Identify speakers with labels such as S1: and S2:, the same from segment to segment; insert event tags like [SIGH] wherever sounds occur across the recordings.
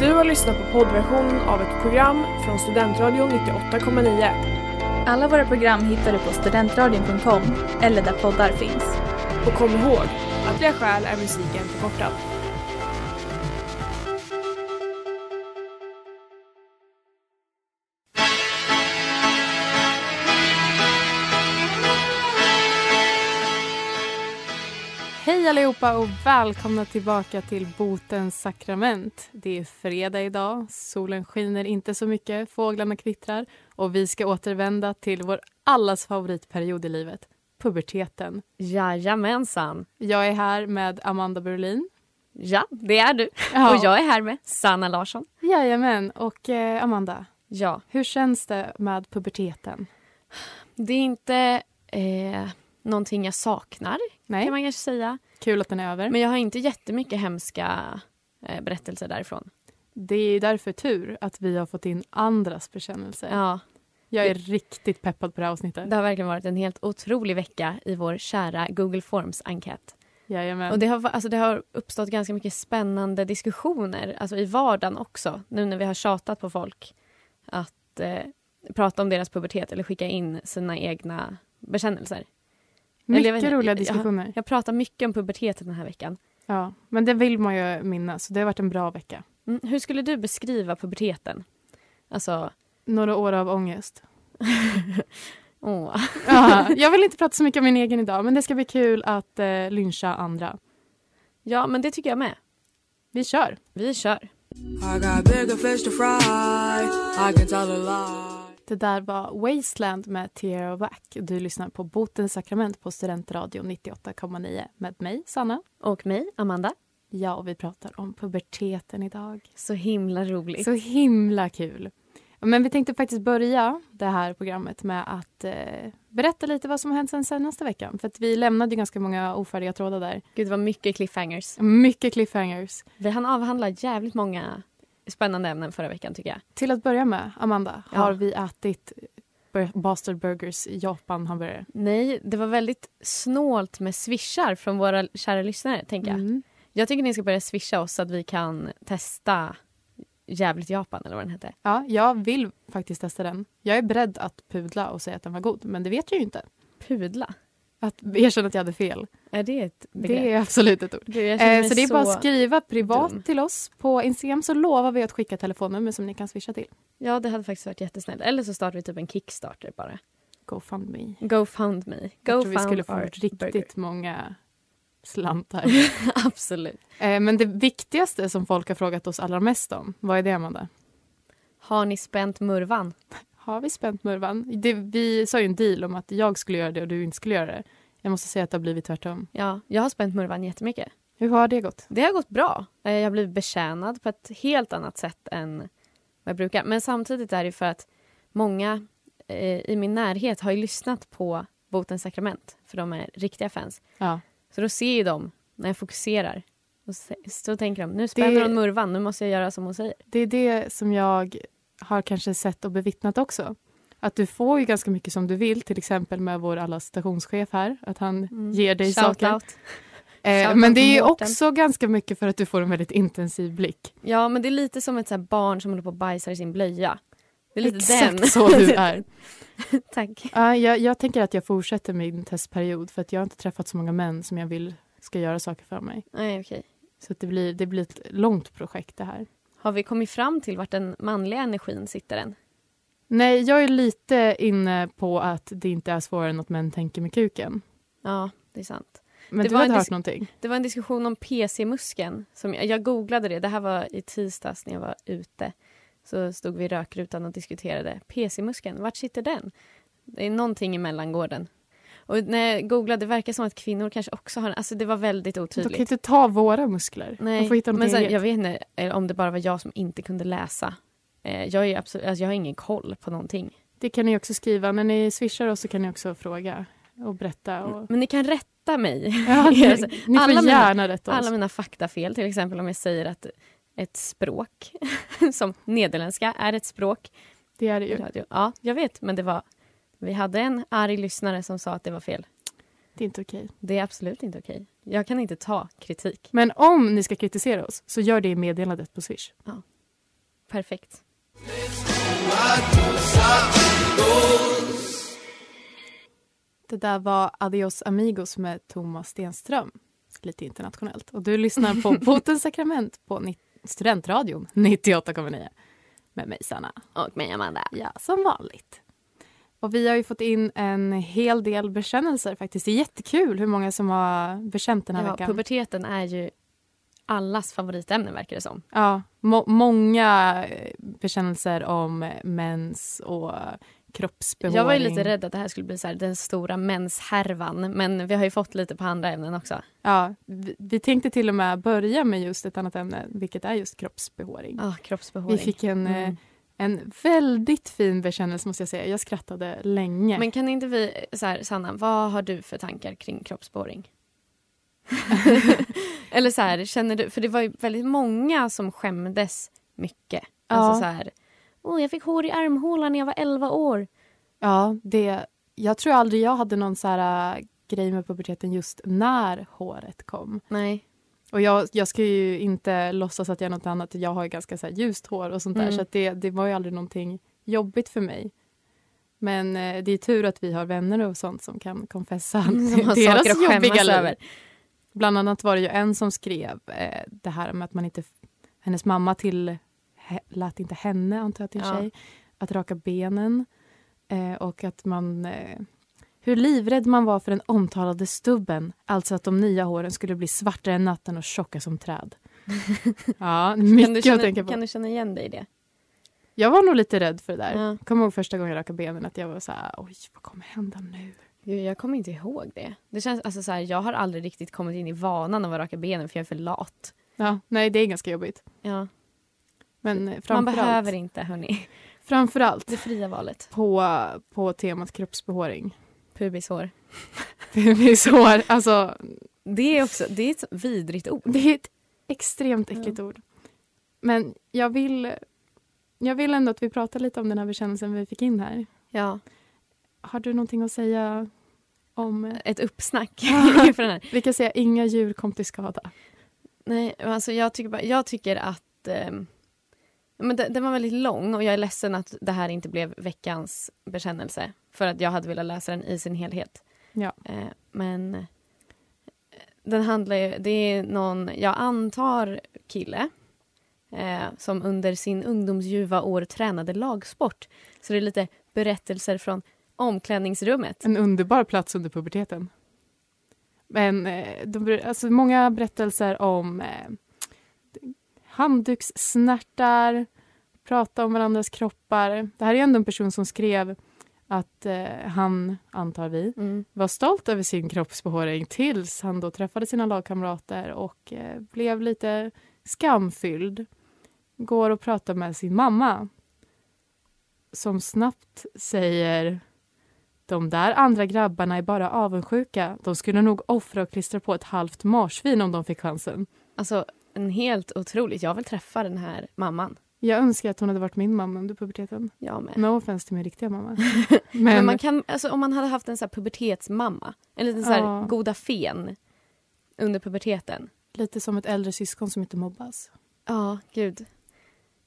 S1: Du har lyssnat på poddversionen av ett program från Studentradion 98,9.
S2: Alla våra program hittar du på studentradion.com eller där poddar finns.
S1: Och kom ihåg, Attliga skäl är musiken förkortad.
S3: Hej allihopa och välkomna tillbaka till Botens sakrament. Det är fredag idag, solen skiner inte så mycket, fåglarna kvittrar och vi ska återvända till vår allas favoritperiod i livet, puberteten.
S4: Jajamensan.
S3: Jag är här med Amanda Berlin.
S4: Ja, det är du.
S3: Ja.
S4: Och jag är här med Sanna Larsson.
S3: Jajamän, och eh, Amanda,
S4: Ja,
S3: hur känns det med puberteten?
S4: det är inte eh, någonting jag saknar,
S3: Nej,
S4: kan man kanske säga.
S3: kul att den är över.
S4: Men jag har inte jättemycket hemska eh, berättelser därifrån.
S3: det är ju därför tur att vi har fått in andras bekännelser.
S4: Ja,
S3: Jag är riktigt peppad på det här avsnittet.
S4: det har verkligen varit en helt otrolig vecka i vår kära Google Forms-enkät.
S3: Jajamän.
S4: Och det har, alltså det har uppstått ganska mycket spännande diskussioner alltså i vardagen också. Nu när vi har tjatat på folk att eh, prata om deras pubertet eller skicka in sina egna bekännelser. eller jag vet
S3: Mycket
S4: inte,
S3: roliga
S4: jag-
S3: diskussioner.
S4: Jag pratar mycket om puberteten den här veckan.
S3: Ja, men det vill man ju minnas. Så det har varit en bra vecka.
S4: Mm, hur skulle du beskriva puberteten?
S3: [LAUGHS]
S4: Alltså,
S3: Några år av [LAUGHS] ångest.
S4: åh.
S3: Ja, jag vill inte prata så mycket om min egen idag, men det ska bli kul att eh, lyncha andra.
S4: Ja, men det tycker jag med.
S3: Vi kör!
S4: Vi kör.
S5: I got bigger fish to fry. I can tell a lie.
S3: Det där var Wasteland med Tierra Wack. Du lyssnar på Botens sakrament på Studentradio 98,9 med mig, Sanna.
S4: Och mig, Amanda.
S3: Ja, och vi pratar om puberteten idag.
S4: Så himla roligt.
S3: Så himla kul. Men vi tänkte faktiskt börja det här programmet med att eh, berätta lite vad som har hänt sen senaste veckan. För att vi lämnade ju ganska många ofärdiga trådar där.
S4: Gud, vad mycket cliffhangers.
S3: Mycket cliffhangers.
S4: Vi hann avhandla jävligt många spännande ämnen förra veckan, tycker jag.
S3: Till att börja med, Amanda,
S4: Ja.
S3: har vi ätit bur- Bastard Burgers Japan-hamburgare?
S4: Nej, det var väldigt snålt med swishar från våra kära lyssnare, tänker jag.
S3: Mm.
S4: Jag tycker ni ska börja swisha oss så att vi kan testa Jävligt Japan, eller vad den hette.
S3: Ja, jag vill faktiskt testa den. Jag är beredd att pudla och säga att den var god, men det vet jag ju inte.
S4: Pudla.
S3: Att erkänna att jag hade fel,
S4: Är det ett begrepp?
S3: det är absolut ett ord.
S4: Gud, jag känner
S3: Eh,
S4: mig
S3: så det är bara att skriva privat
S4: dum.
S3: till oss på Instagram så lovar vi att skicka telefonnummer som ni kan swisha till.
S4: Ja, det hade faktiskt varit jättesnällt. Eller så startar vi typ en Kickstarter bara.
S3: GoFundMe.
S4: GoFundMe.
S3: Jag
S4: Go
S3: tror vi skulle få riktigt [LAUGHS] många
S4: [LAUGHS]
S3: slantar.
S4: Absolut.
S3: eh, men det viktigaste som folk har frågat oss allra mest om, vad är det Amanda?
S4: Har ni spänt murvan?
S3: Har vi spänt murvan? Det, vi sa ju en deal om att jag skulle göra det och du inte skulle göra det. Jag måste säga att det har blivit tvärtom.
S4: Ja, jag har spänt murvan jättemycket.
S3: Hur har det gått?
S4: Det har gått bra. Eh, Jag har blivit betjänad på ett helt annat sätt än vad jag brukar. Men samtidigt är det för att många eh, i min närhet har ju lyssnat på Botens sakrament, för de är riktiga fans.
S3: Ja.
S4: Så då ser ju de när jag fokuserar. Och se- så tänker de, nu spänner
S3: Det-
S4: hon murvan, nu måste jag göra som hon säger.
S3: Det är det som jag har kanske sett och bevittnat också. Att du får ju ganska mycket som du vill, till exempel med vår alla stationschef här, att han ger dig saker.
S4: Mm. out.
S3: Eh,
S4: Shout
S3: men
S4: out
S3: det är
S4: till
S3: ju
S4: Mårten.
S3: också ganska mycket för att du får en väldigt intensiv blick.
S4: Ja, men det är lite som ett så här barn som håller på och bajsar i sin blöja. Det är lite
S3: Exakt [LAUGHS]
S4: den.
S3: så
S4: [LAUGHS]
S3: du är.
S4: Tack.
S3: Ja, jag, jag tänker att jag fortsätter min testperiod för att jag har inte träffat så många män som jag vill ska göra saker för mig.
S4: Nej, okej.
S3: Så att det, blir, det blir ett långt projekt det här.
S4: Har vi kommit fram till vart den manliga energin sitter än?
S3: Nej, jag är lite inne på att det inte är svårare än att män tänker med kuken.
S4: Ja, det är sant.
S3: Men
S4: Det
S3: du
S4: var
S3: hade
S4: en
S3: hört
S4: dis-
S3: någonting?
S4: Det var en diskussion om PC-muskeln. Som jag, jag googlade det. Det här var i tisdags när jag var ute. Så stod vi i rökrutan och diskuterade. PC-muskeln, vart sitter den? Det är någonting i mellangården. Och när jag googlade, det verkar som att kvinnor kanske också har en... Alltså det var väldigt
S3: De kan
S4: otydligt.
S3: ju inte ta våra muskler. De får hitta något
S4: men sen,
S3: eget.
S4: jag vet inte eh, om det bara var jag som inte kunde läsa. Eh, Jag, är absolut, alltså jag har ingen koll på någonting.
S3: Det kan ni också skriva. När ni swishar oss så kan ni också fråga och berätta. Och...
S4: Men ni kan rätta
S3: [LAUGHS]
S4: mig. [LAUGHS]
S3: Ja, ni,
S4: Alltså,
S3: ni får
S4: alla mina-
S3: gärna rätta oss.
S4: Alla mina faktafel, till exempel om jag säger att ett språk [LAUGHS] som nederländska är ett språk.
S3: Det är det
S4: i
S3: ju.
S4: Radio. Ja, jag vet, men det var... Vi hade en arg lyssnare som sa att det var fel.
S3: Det är inte okej.
S4: Det är absolut inte okej. Jag kan inte ta kritik.
S3: Men om ni ska kritisera oss, så gör det i meddelandet på Swish.
S4: Ja. Perfekt.
S3: Det där var Adios Amigos med Thomas Stenström. Lite internationellt. Och du lyssnar
S4: [LAUGHS]
S3: på Botens sakrament på ni- Studentradion 98,9. Med mig Sanna.
S4: Och mig Amanda.
S3: Ja, som vanligt. Och vi har ju fått in en hel del bekännelser faktiskt. Det är jättekul hur många som har bekänt den här
S4: Ja,
S3: veckan.
S4: puberteten är ju allas favoritämne verkar det som.
S3: Ja, må- många eh, bekännelser om eh, mens och kroppsbehåring.
S4: Jag var ju lite rädd att det här skulle bli så här, den stora menshärvan men vi har ju fått lite på andra ämnen också.
S3: Ja, vi, vi tänkte till och med börja med just ett annat ämne, vilket är just kroppsbehåring.
S4: Ah, kroppsbehåring.
S3: Vi fick en, eh,
S4: Mm.
S3: en väldigt fin bekännelse måste jag säga. Jag skrattade länge.
S4: Men kan inte vi, så här, Sanna, vad har du för tankar
S3: [LAUGHS]
S4: kring kroppsborring? Eller så här, känner du, för det var ju väldigt många som skämdes mycket.
S3: Ja.
S4: Alltså så här, åh jag fick hår i armhålan när jag var 11 år.
S3: Ja, det, jag tror aldrig jag hade någon så här äh, grej med puberteten just när håret kom.
S4: Nej.
S3: Och jag, jag ska ju inte låtsas att jag är något annat. Jag har ju ganska så här ljust hår och sånt där
S4: Mm.
S3: så att det, det var ju aldrig någonting jobbigt för mig. Men eh, det är tur att vi har vänner och sånt som kan konfessa
S4: Mm,
S3: [LAUGHS]
S4: [LAUGHS] Som har
S3: deras
S4: saker att
S3: jobbiga
S4: skämmas
S3: liv.
S4: över.
S3: Bland annat var det ju en som skrev eh, det här med att man inte... Hennes mamma till, he, lät inte henne, antar jag, till
S4: Ja.
S3: tjej att raka benen. Eh, och att man... Eh, hur livrädd man var för den omtalade stubben. Alltså att de nya håren skulle bli svartare än natten och tjocka som
S4: [LAUGHS]
S3: träd. ja,
S4: Kan du,
S3: mycket att tänka
S4: känna,
S3: på.
S4: kan du känna igen dig i det?
S3: Jag var nog lite rädd för det där.
S4: Ja.
S3: Kommer ihåg första gången jag rakade benen att jag var så här, oj, vad kommer hända nu?
S4: Gud, jag kommer inte ihåg det. det känns, alltså, så här, jag har aldrig riktigt kommit in i vanan av att raka benen för jag är för lat.
S3: Ja, nej, det är ganska jobbigt.
S4: Ja.
S3: Men eh,
S4: Man
S3: framförallt,
S4: behöver inte, hörni.
S3: framförallt
S4: Det fria valet.
S3: på, på temat kroppsbehåring. [LAUGHS]
S4: Pubishår.
S3: Pubishår, alltså
S4: Det är, också, det är ett vidrigt ord.
S3: det är ett extremt äckligt ord. Men jag vill, jag vill ändå att vi pratar lite om den här bekännelsen vi fick in här.
S4: Ja.
S3: Har du någonting att säga om... eh,
S4: Ett [LAUGHS] uppsnack. inför den här.
S3: Vi kan säga inga djur kom till skada.
S4: Nej, alltså, jag, tycker bara, jag tycker att... ehm, men det, den var väldigt lång och jag är ledsen att det här inte blev veckans bekännelse. För att jag hade velat läsa den i sin helhet.
S3: Ja.
S4: Eh, men eh, den handlar ju, det är någon, jag antar kille eh, som under sin ungdomsljuva år tränade lagsport. Så det är lite berättelser från omklädningsrummet.
S3: En underbar plats under puberteten. Men eh, de, ber- alltså många berättelser om eh, handdukssnärtar, prata om varandras kroppar. Det här är ändå en person som skrev att eh, han, antar vi,
S4: Mm.
S3: var stolt över sin kroppsbehåring tills han då träffade sina lagkamrater och eh, blev lite skamfylld. Går och pratar med sin mamma som snabbt säger de där andra grabbarna är bara avundsjuka. De skulle nog offra och klistra på ett halvt marsvin om de fick chansen.
S4: Alltså en helt otroligt, jag vill träffa den här mamman.
S3: Jag önskar att hon hade varit min mamma under puberteten.
S4: Jag med.
S3: No offense till min riktiga
S4: [LAUGHS]
S3: mamma. Men,
S4: Men man kan, alltså, om man hade haft en så här pubertetsmamma, en liten så här
S3: Ja.
S4: goda fen under puberteten.
S3: lite som ett äldre syskon som inte mobbas.
S4: Ja, gud.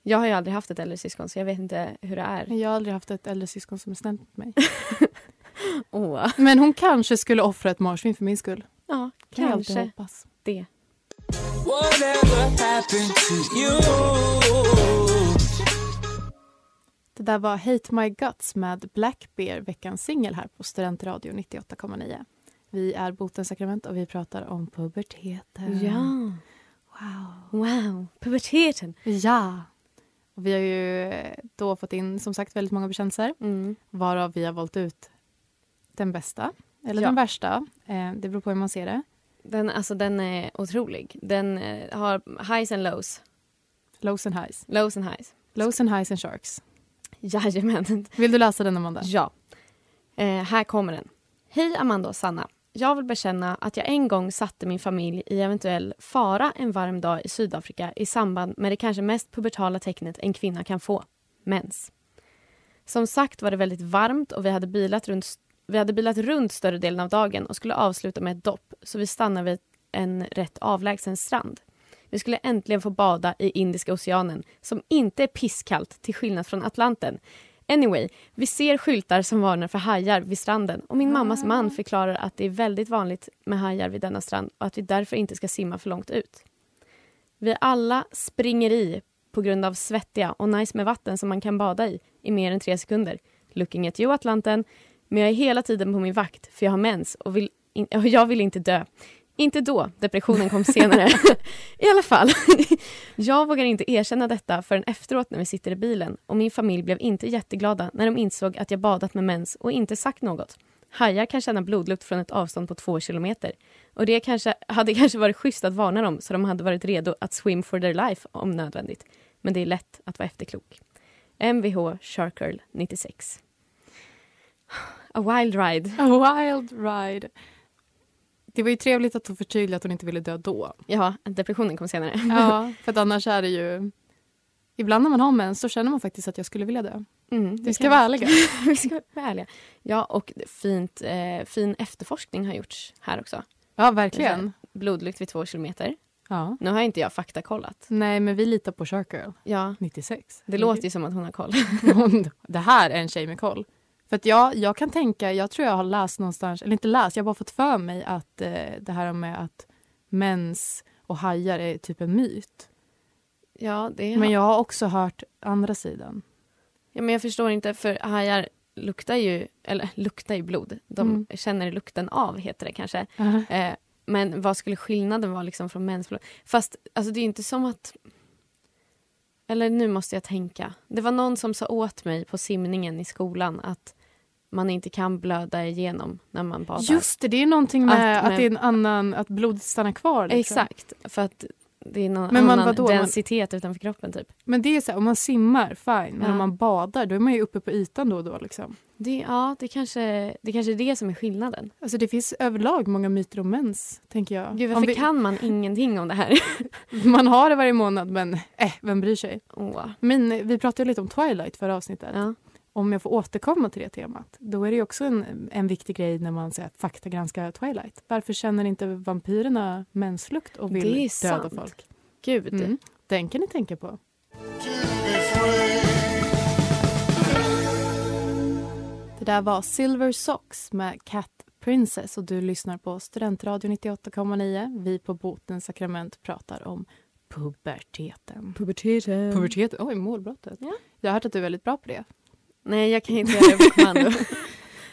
S4: Jag har ju aldrig haft ett äldre syskon så jag vet inte hur det är.
S3: Men Jag har aldrig haft ett äldre syskon som är snällt mot mig.
S4: Åh.
S3: Men hon kanske skulle offra ett marsvin för min skull.
S4: Ja,
S3: Kan jag alltid
S4: kanske
S3: hoppas.
S4: det.
S5: Whatever happened to you?
S3: Det där var Hate My Guts med Black Bear, veckans singel här på Studentradio 98,9. Vi är Botens sakrament och vi pratar om puberteten.
S4: Ja.
S3: Wow.
S4: Wow, puberteten.
S3: Ja. Och vi har ju eh, då fått in som sagt väldigt många bekännelser
S4: Mm.
S3: varav vi har valt ut den bästa, eller
S4: Ja.
S3: den värsta. Eh, det beror på hur man ser det.
S4: Den, alltså, den är otrolig. Den eh, har highs and lows.
S3: Lows and highs.
S4: Lows and highs.
S3: Lows and highs and sharks.
S4: Jajamän.
S3: Vill du läsa den, Amanda?
S4: Ja. Eh, här kommer den. Hej Amanda och Sanna. Jag vill bekänna att jag en gång satte min familj i eventuell fara en varm dag i Sydafrika i samband med det kanske mest pubertala tecknet en kvinna kan få, mens. Som sagt var det väldigt varmt och vi hade bilat runt, vi hade bilat runt större delen av dagen och skulle avsluta med ett dopp, så vi stannade vid en rätt avlägsen strand. Vi skulle äntligen få bada i Indiska oceanen som inte är pisskallt till skillnad från Atlanten. Anyway, vi ser skyltar som varnar för hajar vid stranden och min mammas man förklarar att det är väldigt vanligt med hajar vid denna strand och att vi därför inte ska simma för långt ut. Vi alla springer i på grund av svettiga och nice med vatten som man kan bada i i mer än tre sekunder. Looking at you Atlanten. Men jag är hela tiden på min vakt för jag har mens och, vill in- och jag vill inte dö. Inte då, depressionen kom senare. I alla fall, jag vågar inte erkänna detta förrän efteråt när vi sitter i bilen och min familj blev inte jätteglada när de insåg att jag badat med mens och inte sagt något. Hajar kan känna blodlukt från ett avstånd på två kilometer. Och det kanske, hade kanske varit schysst att varna dem så de hade varit redo att swim for their life om nödvändigt. Men det är lätt att vara efterklok. Mvh Shark Girl 96. A wild ride.
S3: A wild ride. Det var ju trevligt att hon förtydligade att hon inte ville dö då.
S4: Ja, depressionen kom senare.
S3: Ja, [LAUGHS] för att annars är det ju... Ibland när man har mens så känner man faktiskt att jag skulle vilja dö.
S4: Mm,
S3: Vi ska
S4: kan-
S3: vara ärliga.
S4: Vi ska vara ärliga. Ja, och fint, eh, fin efterforskning har gjorts här också.
S3: Ja, verkligen.
S4: Blodlukt vid två kilometer.
S3: Ja.
S4: Nu har inte jag faktakollat.
S3: Nej, men vi litar på Shark Girl
S4: Ja,
S3: 96. [LAUGHS]
S4: det låter ju som att hon har koll.
S3: Hon- det här är en tjej med koll. För att jag, jag kan tänka, jag tror jag har läst någonstans, eller inte läst, jag har bara fått för mig att eh, det här med att mens och hajar är typ en myt.
S4: [LAUGHS] Ja, det
S3: Men jag har också hört andra sidan.
S4: Ja, men jag förstår inte, för hajar luktar ju, eller luktar ju blod. De
S3: Mm.
S4: känner lukten av, heter det kanske. Eh, men vad skulle skillnaden vara liksom från mensblod? Fast alltså, det är ju inte som att... Eller nu måste jag tänka. Det var någon som sa åt mig på simningen i skolan att man inte kan blöda igenom när man badar.
S3: Just det, det är någonting med
S4: Att-
S3: att, det är en annan, att blodet stannar kvar. liksom.
S4: Exakt, för att det är någon
S3: Men man-
S4: annan
S3: vadå? Man-
S4: densitet utanför kroppen. typ.
S3: Men det är så här, om man simmar, fine. Men
S4: Ja.
S3: om man badar, då är man ju uppe på ytan då och då. Liksom.
S4: Det, ja, det kanske, det kanske är det som är skillnaden.
S3: Alltså det finns överlag många myter om mens, tänker jag.
S4: Gud,
S3: Om
S4: varför
S3: vi-
S4: kan man ingenting om det här?
S3: [LAUGHS]
S4: [LAUGHS]
S3: Man har det varje månad, men eh, vem bryr sig?
S4: Åh.
S3: Men eh, vi pratade ju lite om Twilight förra avsnittet.
S4: Ja.
S3: Om jag får återkomma till det temat, då är det ju också en, en viktig grej när man säger att faktagranska Twilight. Varför känner inte vampyrerna menslukt och vill
S4: Det är
S3: döda
S4: sant.
S3: folk?
S4: Gud.
S3: Mm. Den kan ni tänka på. Det där var Silver Socks med Cat Princess och du lyssnar på Studentradio 98,9. Vi på Botens sakrament pratar om puberteten. Puberteten. Puberteten. Oj, målbrottet.
S4: Ja.
S3: Jag har hört att du är väldigt bra på det.
S4: Nej, jag kan inte göra det på
S3: [LAUGHS]
S4: kommando.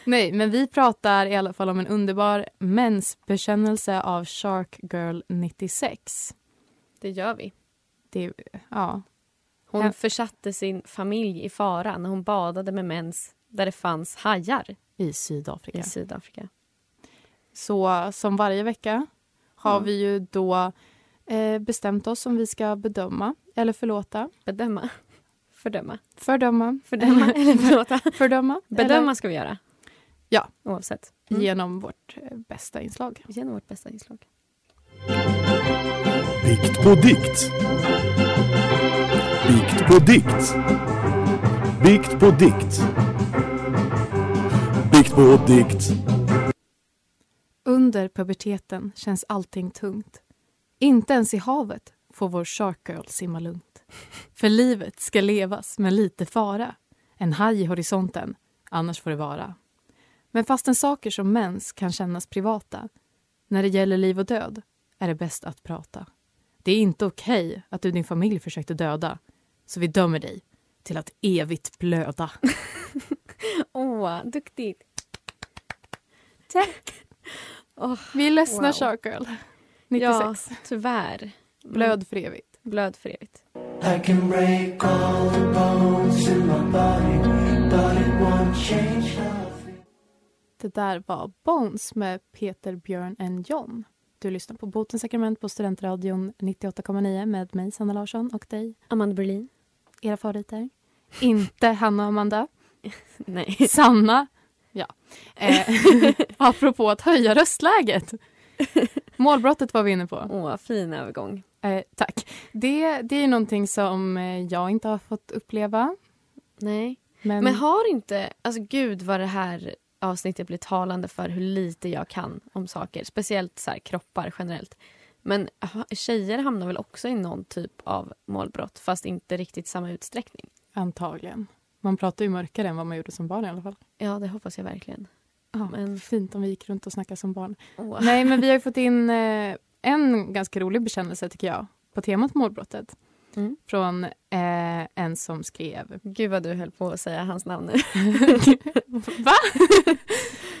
S3: Nej, men vi pratar i alla fall om en underbar mensbekännelse av Shark Girl 96.
S4: det gör vi.
S3: Det, ja,
S4: Hon
S3: Ja.
S4: försatte sin familj i fara när hon badade med mens där det fanns hajar
S3: i Sydafrika.
S4: i Sydafrika.
S3: Så som varje vecka har
S4: Ja.
S3: vi ju då eh, bestämt oss om vi ska bedöma eller förlåta,
S4: Bedöma. [LAUGHS] Fördöma.
S3: fördöma, [LAUGHS]
S4: Fördöma eller förlåta.
S3: fördöma,
S4: Bedöma ska vi göra.
S3: Ja.
S4: Oavsett.
S3: eller,
S4: Mm.
S3: genom vårt eh, bästa inslag.
S4: Genom vårt bästa inslag. [LAUGHS]
S6: Bikt på dikt. Bikt på dikt. Bikt på dikt. Bikt på dikt.
S3: Under puberteten känns allting tungt. Inte ens i havet får vår shark girl simma lugnt. För livet ska levas med lite fara. En haj i horisonten, annars får det vara. Men fastän saker som mens kan kännas privata när det gäller liv och död är det bäst att prata. Det är inte okej att du och din familj försökte döda så vi dömer dig till att evigt blöda.
S4: Åh, duktigt.
S3: [LAUGHS] Vi är ledsna,
S4: Wow.
S3: shark girl. 96.
S4: 96. [LAUGHS] Ja, tyvärr.
S3: Blöd för evigt.
S4: Blöd för evigt.
S7: I can break all the bones in my body, but it won't change nothing.
S3: Det där var Bones med Peter, Björn and John. Du lyssnar på Botens sakrament på Studentradion 98,9 med mig, Sanna Larsson, och dig,
S4: Amanda Berlin?
S3: era favoriter. Inte Hanna och [LAUGHS] Amanda.
S4: [LAUGHS] [LAUGHS] Nej.
S3: Sanna. [LAUGHS] Ja. Eh, apropå att höja röstläget. Målbrottet var vi inne på.
S4: Åh, fin övergång.
S3: Eh, tack. Det, det är ju någonting som eh, jag inte har fått uppleva.
S4: Nej.
S3: Men,
S4: Men har inte... Alltså gud vad det här avsnittet blir talande för hur lite jag kan om saker. Speciellt så här, kroppar generellt. Men ha- tjejer hamnar väl också i någon typ av målbrott fast inte riktigt samma utsträckning.
S3: Antagligen. Man pratar ju mörkare än vad man gjorde som barn i alla fall.
S4: Ja, det hoppas jag verkligen.
S3: Ja,
S4: Men-
S3: Fint om vi gick runt och snackade som barn.
S4: Åh.
S3: [LAUGHS] Nej, men vi har ju fått in eh, en ganska rolig bekännelse, tycker jag, på temat målbrottet.
S4: Mm.
S3: Från eh, en som skrev... [LAUGHS]
S4: Gud vad du höll på att säga hans namn nu.
S3: Va?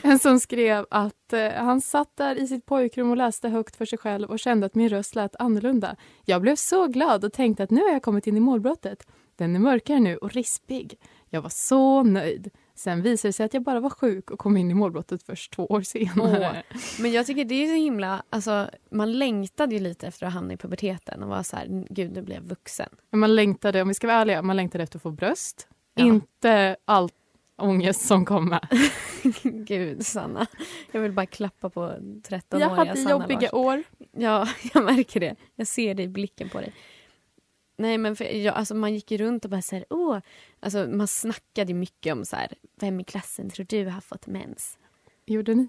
S3: en som skrev att eh, han satt där i sitt pojkrum och läste högt för sig själv och kände att min röst lät annorlunda. Jag blev så glad och tänkte att nu har jag kommit in i målbrottet. Den är mörkare nu och rispig. Jag var så nöjd. Sen visade det sig att jag bara var sjuk och kom in i målbrottet först två år senare.
S4: [LAUGHS] Men jag tycker det är så himla, alltså man längtade ju lite efter att hamna i puberteten och var så här, gud nu blev jag vuxen.
S3: Men Man längtade, om vi ska vara ärliga, man längtade efter att få bröst.
S4: Ja.
S3: Inte all ångest som kom
S4: [LAUGHS]
S3: med.
S4: [LAUGHS] Gud Sanna, jag vill bara klappa på 13-åriga
S3: Jag hade
S4: Sanna
S3: jobbiga
S4: Larsson.
S3: år.
S4: Ja, [LAUGHS] jag märker det. Jag ser det i blicken på dig. Nej men för jag, alltså man gick ju runt och bara såhär, åh. Alltså man snackade ju mycket om så här, vem i klassen tror du har
S3: [LAUGHS]
S4: fått mens?
S3: Gjorde ni?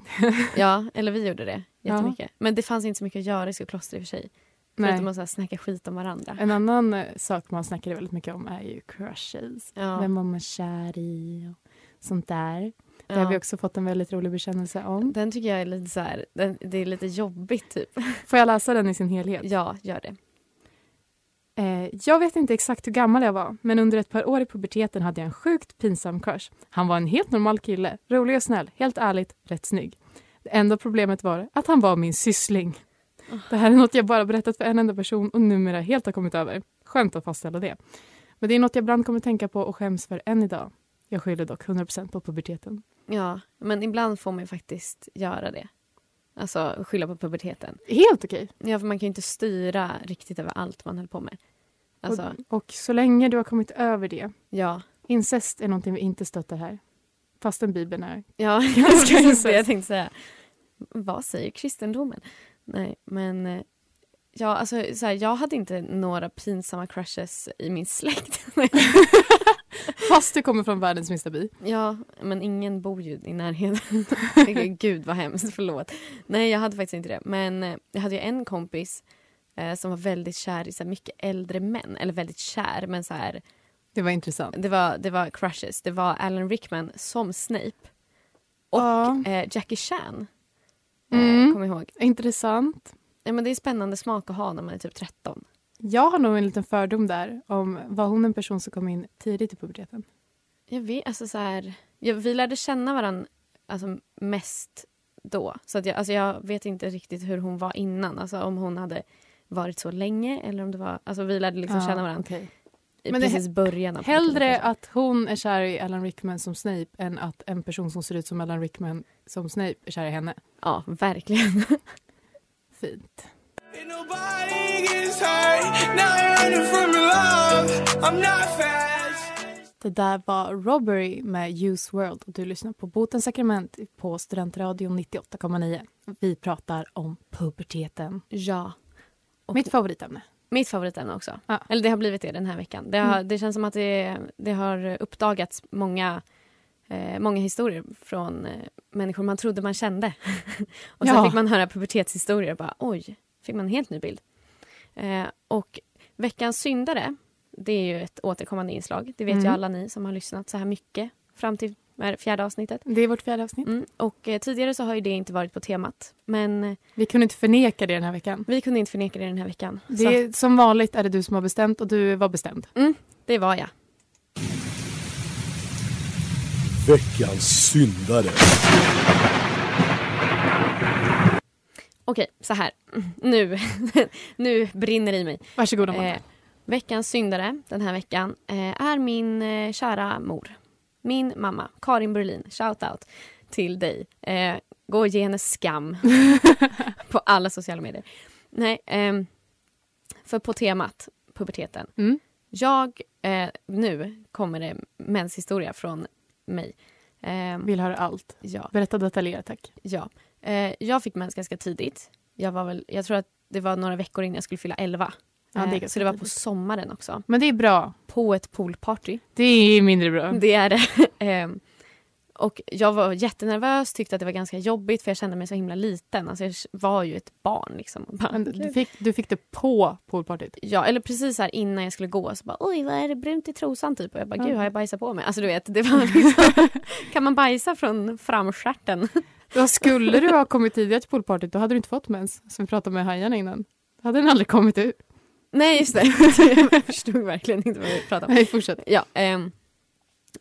S4: Ja, eller vi gjorde det
S3: Ja.
S4: jättemycket. Men det fanns inte så mycket att göra i Skokloster i och för sig. Förutom att så här, snacka skit om varandra.
S3: En annan eh, sak man snackade väldigt mycket om är ju crushes.
S4: Ja.
S3: Vem var man kär i och sånt där. Det
S4: Ja.
S3: har vi också fått en väldigt rolig bekännelse om.
S4: Den tycker jag är lite så här, den, det är lite jobbigt typ.
S3: Får jag läsa den i sin helhet?
S4: Ja, gör det.
S3: Eh, jag vet inte exakt hur gammal jag var, men under ett par år i puberteten hade jag en sjukt pinsam crush. Han var en helt normal kille, rolig och snäll, helt ärligt, rätt snygg. Det enda problemet var att han var min syssling. Det här är något jag bara berättat för en enda person och numera helt har kommit över. Skönt att fastställa det. Men det är något jag ibland kommer tänka på och skäms för än idag. Jag skyller dock 100% på puberteten.
S4: Ja, men ibland får man ju faktiskt göra det. Alltså skylla på puberteten.
S3: Helt okej.
S4: Ja, för man kan ju inte styra riktigt över allt man höll på med. Alltså,
S3: Och, och så länge du har kommit över det.
S4: ja.
S3: Incest är någonting vi inte stöttar här. Fastän Bibeln är
S4: Ja, [LAUGHS]
S3: [LAUGHS] Ja,
S4: jag ska
S3: precis.
S4: inte det jag tänkte säga. Vad säger kristendomen? Nej, men... eh, Ja, alltså, så här, jag hade inte några pinsamma crushes i min släkt. [LAUGHS]
S3: Fast du kommer från världens minsta by.
S4: Ja, men ingen bor ju i närheten. [LAUGHS] Tycker, Gud vad hemskt, förlåt. Nej, jag hade faktiskt inte det. Men eh, jag hade ju en kompis eh, som var väldigt kär i så här, mycket äldre män. Eller väldigt kär, men så här,
S3: Det var intressant.
S4: det var, det var crushes. Det var Alan Rickman som Snape. Och
S3: Ja.
S4: eh, Jackie Chan. Eh,
S3: Mm.
S4: kom ihåg.
S3: Intressant.
S4: Ja, men det är spännande smak att ha när man är typ 13.
S3: Jag har nog en liten fördom där om var hon en person som kom in tidigt i puberteten.
S4: Jag vet, alltså så här, jag, vi lärde känna varandra alltså, mest då. Så att jag, alltså, jag vet inte riktigt hur hon var innan. Alltså om hon hade varit så länge eller om det var... Alltså vi lärde liksom
S3: Ja,
S4: känna varandra
S3: okej.
S4: i
S3: Men det-
S4: precis början av
S3: Hellre
S4: puberteten.
S3: att hon är kär i Alan Rickman som Snape än att en person som ser ut som Alan Rickman som Snape är kär i henne.
S4: Ja, verkligen. [LAUGHS]
S3: Fint.
S7: Ain't nobody gets hurt. Now I'm running from your love. I'm not fast.
S3: Det där var Robbery med Use World och du lyssnar på Botens sakrament på Studentradion 98,9. Vi pratar om puberteten.
S4: ja. Och-
S3: Mitt favoritämne.
S4: Mitt favoritämne också.
S3: Ja. Mm.
S4: Eller det har blivit det den här veckan. Det, har, det känns som att det, det har uppdagats många, eh, många historier från eh, människor man trodde man kände. [LAUGHS] och sen
S3: Ja.
S4: fick man höra pubertetshistorier och bara oj, fick man en helt ny bild. Eh, och veckans syndare, det är ju ett återkommande inslag. Det vet
S3: Mm.
S4: ju alla ni som har lyssnat så här mycket fram till eh, fjärde avsnittet.
S3: Det är vårt fjärde avsnitt.
S4: Mm. Och eh, tidigare så har ju det inte varit på temat. Men eh,
S3: Vi kunde inte förneka det den här veckan.
S4: vi kunde inte förneka det den här veckan.
S3: Det
S4: Så att-
S3: är, som vanligt är det du som har bestämt och du var bestämd.
S4: det var jag.
S6: Veckans syndare.
S4: Okej, så här. Nu, [LAUGHS] nu brinner det i mig.
S3: Varsågod
S4: Eh, veckans syndare den här veckan eh, är min eh, kära mor. Min mamma, Karin Berlin. Shout out till dig. Eh, gå och ge henne skam på alla sociala medier. Nej, ehm, för på temat puberteten.
S3: Mm.
S4: Jag, eh, nu kommer det menshistoria från mig. Ehm,
S3: Vill höra allt.
S4: ja.
S3: Berätta detaljerat tack.
S4: Ja. Eh, jag fick mens ganska tidigt. Jag, var väl, jag tror att det var några veckor innan jag skulle fylla 11.
S3: Ja, det är
S4: Eh,
S3: ganska
S4: så det var på
S3: tidigt.
S4: sommaren också.
S3: Men det är bra.
S4: På ett poolparty. Mm. [LAUGHS]
S3: Det är mindre bra.
S4: Det är det. Eh, Och jag var jättenervös, tyckte att det var ganska jobbigt för jag kände mig så himla liten. Alltså jag var ju ett barn liksom. Och bara,
S3: Men du, fick, du fick det på poolpartyt?
S4: Ja, eller precis här innan jag skulle gå så bara oj vad är det brunt i trosan typ och jag bara gud har jag bajsat på mig? Alltså du vet, det var [LAUGHS] liksom, kan man bajsa från framstjärten? [LAUGHS]
S3: Då skulle du ha kommit tidigare till poolpartyt, då hade du inte fått mens, som vi pratade med hajarna innan. Då hade den aldrig kommit ut.
S4: Nej just det, [LAUGHS] jag förstod verkligen inte vad vi pratade om.
S3: Nej, fortsätt.
S4: Ja, ehm,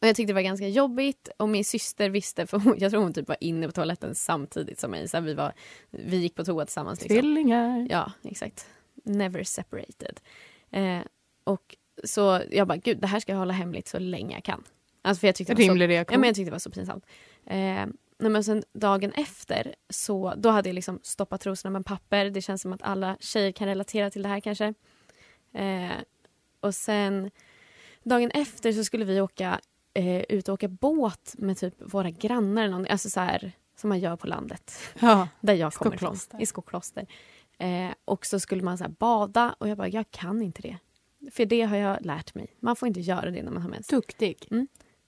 S4: och jag tyckte det var ganska jobbigt och min syster visste för hon, [LAUGHS] jag tror hon typ var inne på toaletten samtidigt som mig. Så här, vi, var, vi gick på toa tillsammans. Liksom.
S3: Tvillingar.
S4: Ja, exakt. Never separated. Eh, och så jag bara, gud det här ska jag hålla hemligt så länge jag kan. Alltså för jag tyckte det var så
S3: Rimlig
S4: Ja,
S3: reaktion.
S4: men jag tyckte det var så pinsamt. Eh, nej, men sen dagen efter, så, då hade jag liksom stoppat trosorna med papper. Det känns som att alla tjejer kan relatera till det här kanske. Eh, och sen dagen efter så skulle vi åka eh, ut och åka båt med typ våra grannar eller någonting. Alltså så här som man gör på landet.
S3: ja.
S4: Där jag kommer ifrån.
S3: Skokloster.
S4: I Skokloster. Eh, och så skulle man så här bada och jag bara, jag kan inte det. För det har jag lärt mig. Man får inte göra det när man har mens. Mm.
S3: Duktig.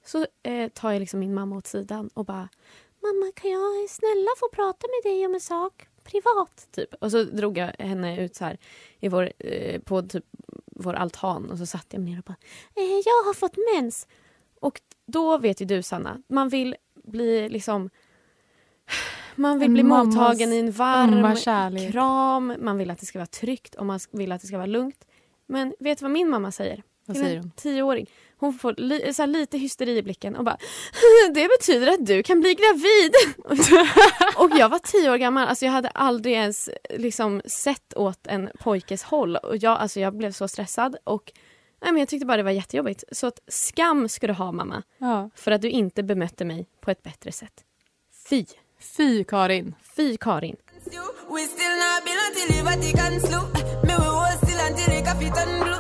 S4: Så eh, tar jag liksom min mamma åt sidan och bara Mamma kan jag snälla få prata med dig om en sak privat? Typ. Och så drog jag henne ut så här i vår, eh, på typ vår altan och så satt jag mig ner och bara eh, Jag har fått mens! Och då vet ju du Sanna, man vill bli liksom Man vill
S3: En
S4: bli
S3: mammas
S4: mottagen i en
S3: Ömma
S4: varm
S3: kärlek.
S4: kram, man vill att det ska vara tryggt och man vill att det ska vara lugnt. Men vet du vad min mamma säger?
S3: Vad
S4: till
S3: säger
S4: en
S3: hon?
S4: tioåring. Hon får li- så här lite hysteri i blicken och bara [LAUGHS] Det betyder att du kan bli gravid! [LAUGHS] och jag var tio år gammal, alltså jag hade aldrig ens liksom, sett åt en pojkes håll. Och jag, alltså, jag blev så stressad och nej, men jag tyckte bara det var jättejobbigt. Så att skam ska du ha mamma,
S3: Ja.
S4: för att du inte bemötte mig på ett bättre sätt. Fy!
S3: Fy, Karin.
S4: Fy Karin!
S5: We still not build until the Vatican slew. Me we hold still until the coffee turn blue.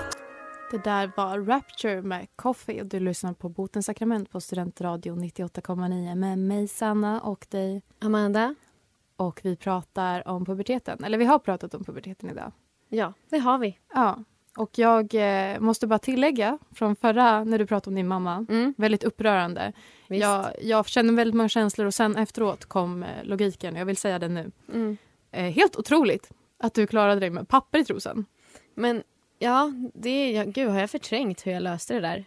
S3: Det där var Rapture med Coffee och du lyssnar på Botens sakrament på Studentradio 98,9 med mig, Sanna, och dig.
S4: Amanda?
S3: Och vi pratar om puberteten. Eller vi har pratat om puberteten idag.
S4: Ja, det har vi.
S3: Ja. Och jag eh, måste bara tillägga från förra, när du pratade om din mamma.
S4: Mm,
S3: Väldigt upprörande.
S4: visst.
S3: Jag, jag kände väldigt många känslor och sen efteråt kom eh, logiken. Jag vill säga den nu.
S4: Mm.
S3: Eh, helt otroligt att du klarade dig med papper i trosan.
S4: Men ja, det, ja, gud har jag förträngt hur jag löste det där?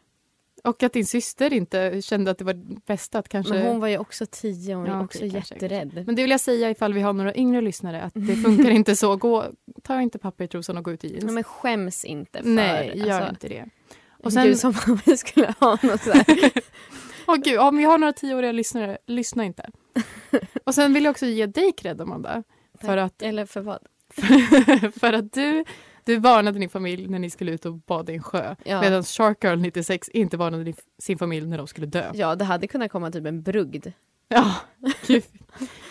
S3: Och att din syster inte kände att det var det bästa att kanske...
S4: Men hon var ju också tio, hon var ju
S3: Ja,
S4: också
S3: okej, kanske,
S4: jätterädd.
S3: Men det vill jag säga ifall vi har några yngre lyssnare att det
S4: [LAUGHS]
S3: funkar inte så. Gå, ta inte papper i trosan och gå ut i jeans.
S4: Ja, men skäms inte för...
S3: Nej, gör
S4: alltså,
S3: inte det. [LAUGHS]
S4: Och
S3: Och sen,
S4: Gud, som om vi skulle ha något så här.
S3: åh gud, om vi har några tioåriga lyssnare, lyssna
S4: [LAUGHS]
S3: inte. och sen vill jag också ge dig cred, Amanda. För att,
S4: [LAUGHS] Eller för vad?
S3: för att [LAUGHS] du, du varnade din familj när ni skulle ut och bada i en sjö.
S4: Ja.
S3: Medan Shark Girl 96 inte varnade din- sin familj när de skulle dö.
S4: Ja, det hade kunnat komma typ en brugd.
S3: Ja, [LAUGHS] gud.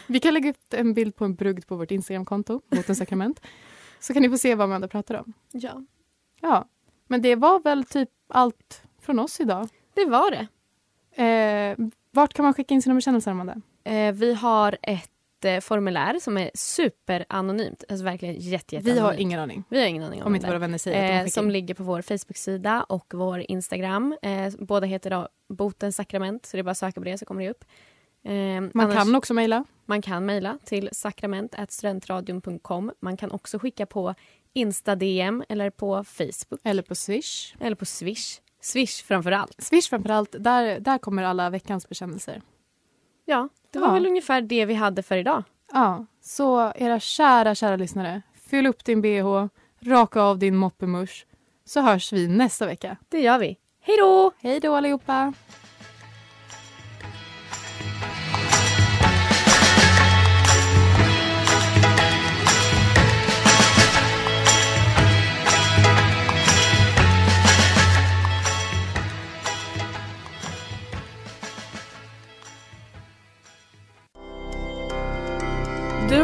S3: Vi kan lägga upp en bild på en brugd på vårt Instagramkonto, mot en sakrament. Så kan ni få se vad Amanda pratar om.
S4: Ja.
S3: Ja, men det var väl typ allt från oss idag.
S4: Det var det.
S3: Eh, vart kan man skicka in sina bekännelser, Amanda?
S4: Eh, vi har ett eh, formulär som är superanonymt. Alltså verkligen jätte, jätte
S3: Vi har ingen aning.
S4: vi har ingen aning om
S3: Om
S4: det
S3: inte
S4: där.
S3: våra vänner säger
S4: eh,
S3: att de
S4: som
S3: skickar in.
S4: ligger på vår Facebook-sida och vår Instagram. Eh, båda heter då Botens sakrament, så det är bara att söka på det så kommer det upp. Eh,
S3: Man
S4: annars-
S3: kan också mejla.
S4: Man kan mejla till sakrament.studentradion.com. Man kan också skicka på Insta-DM eller på Facebook
S3: Eller på Swish.
S4: eller på Swish. Swish framför allt.
S3: Swish framför allt, där, där kommer alla veckans bekännelser.
S4: Ja, det
S3: Ja.
S4: var väl ungefär det vi hade för idag.
S3: Ja, så era kära, kära lyssnare. Fyll upp din bh, raka av din moppemusch, så hörs vi nästa vecka.
S4: Det gör vi. Hej då!
S3: Hej då allihopa!
S1: Du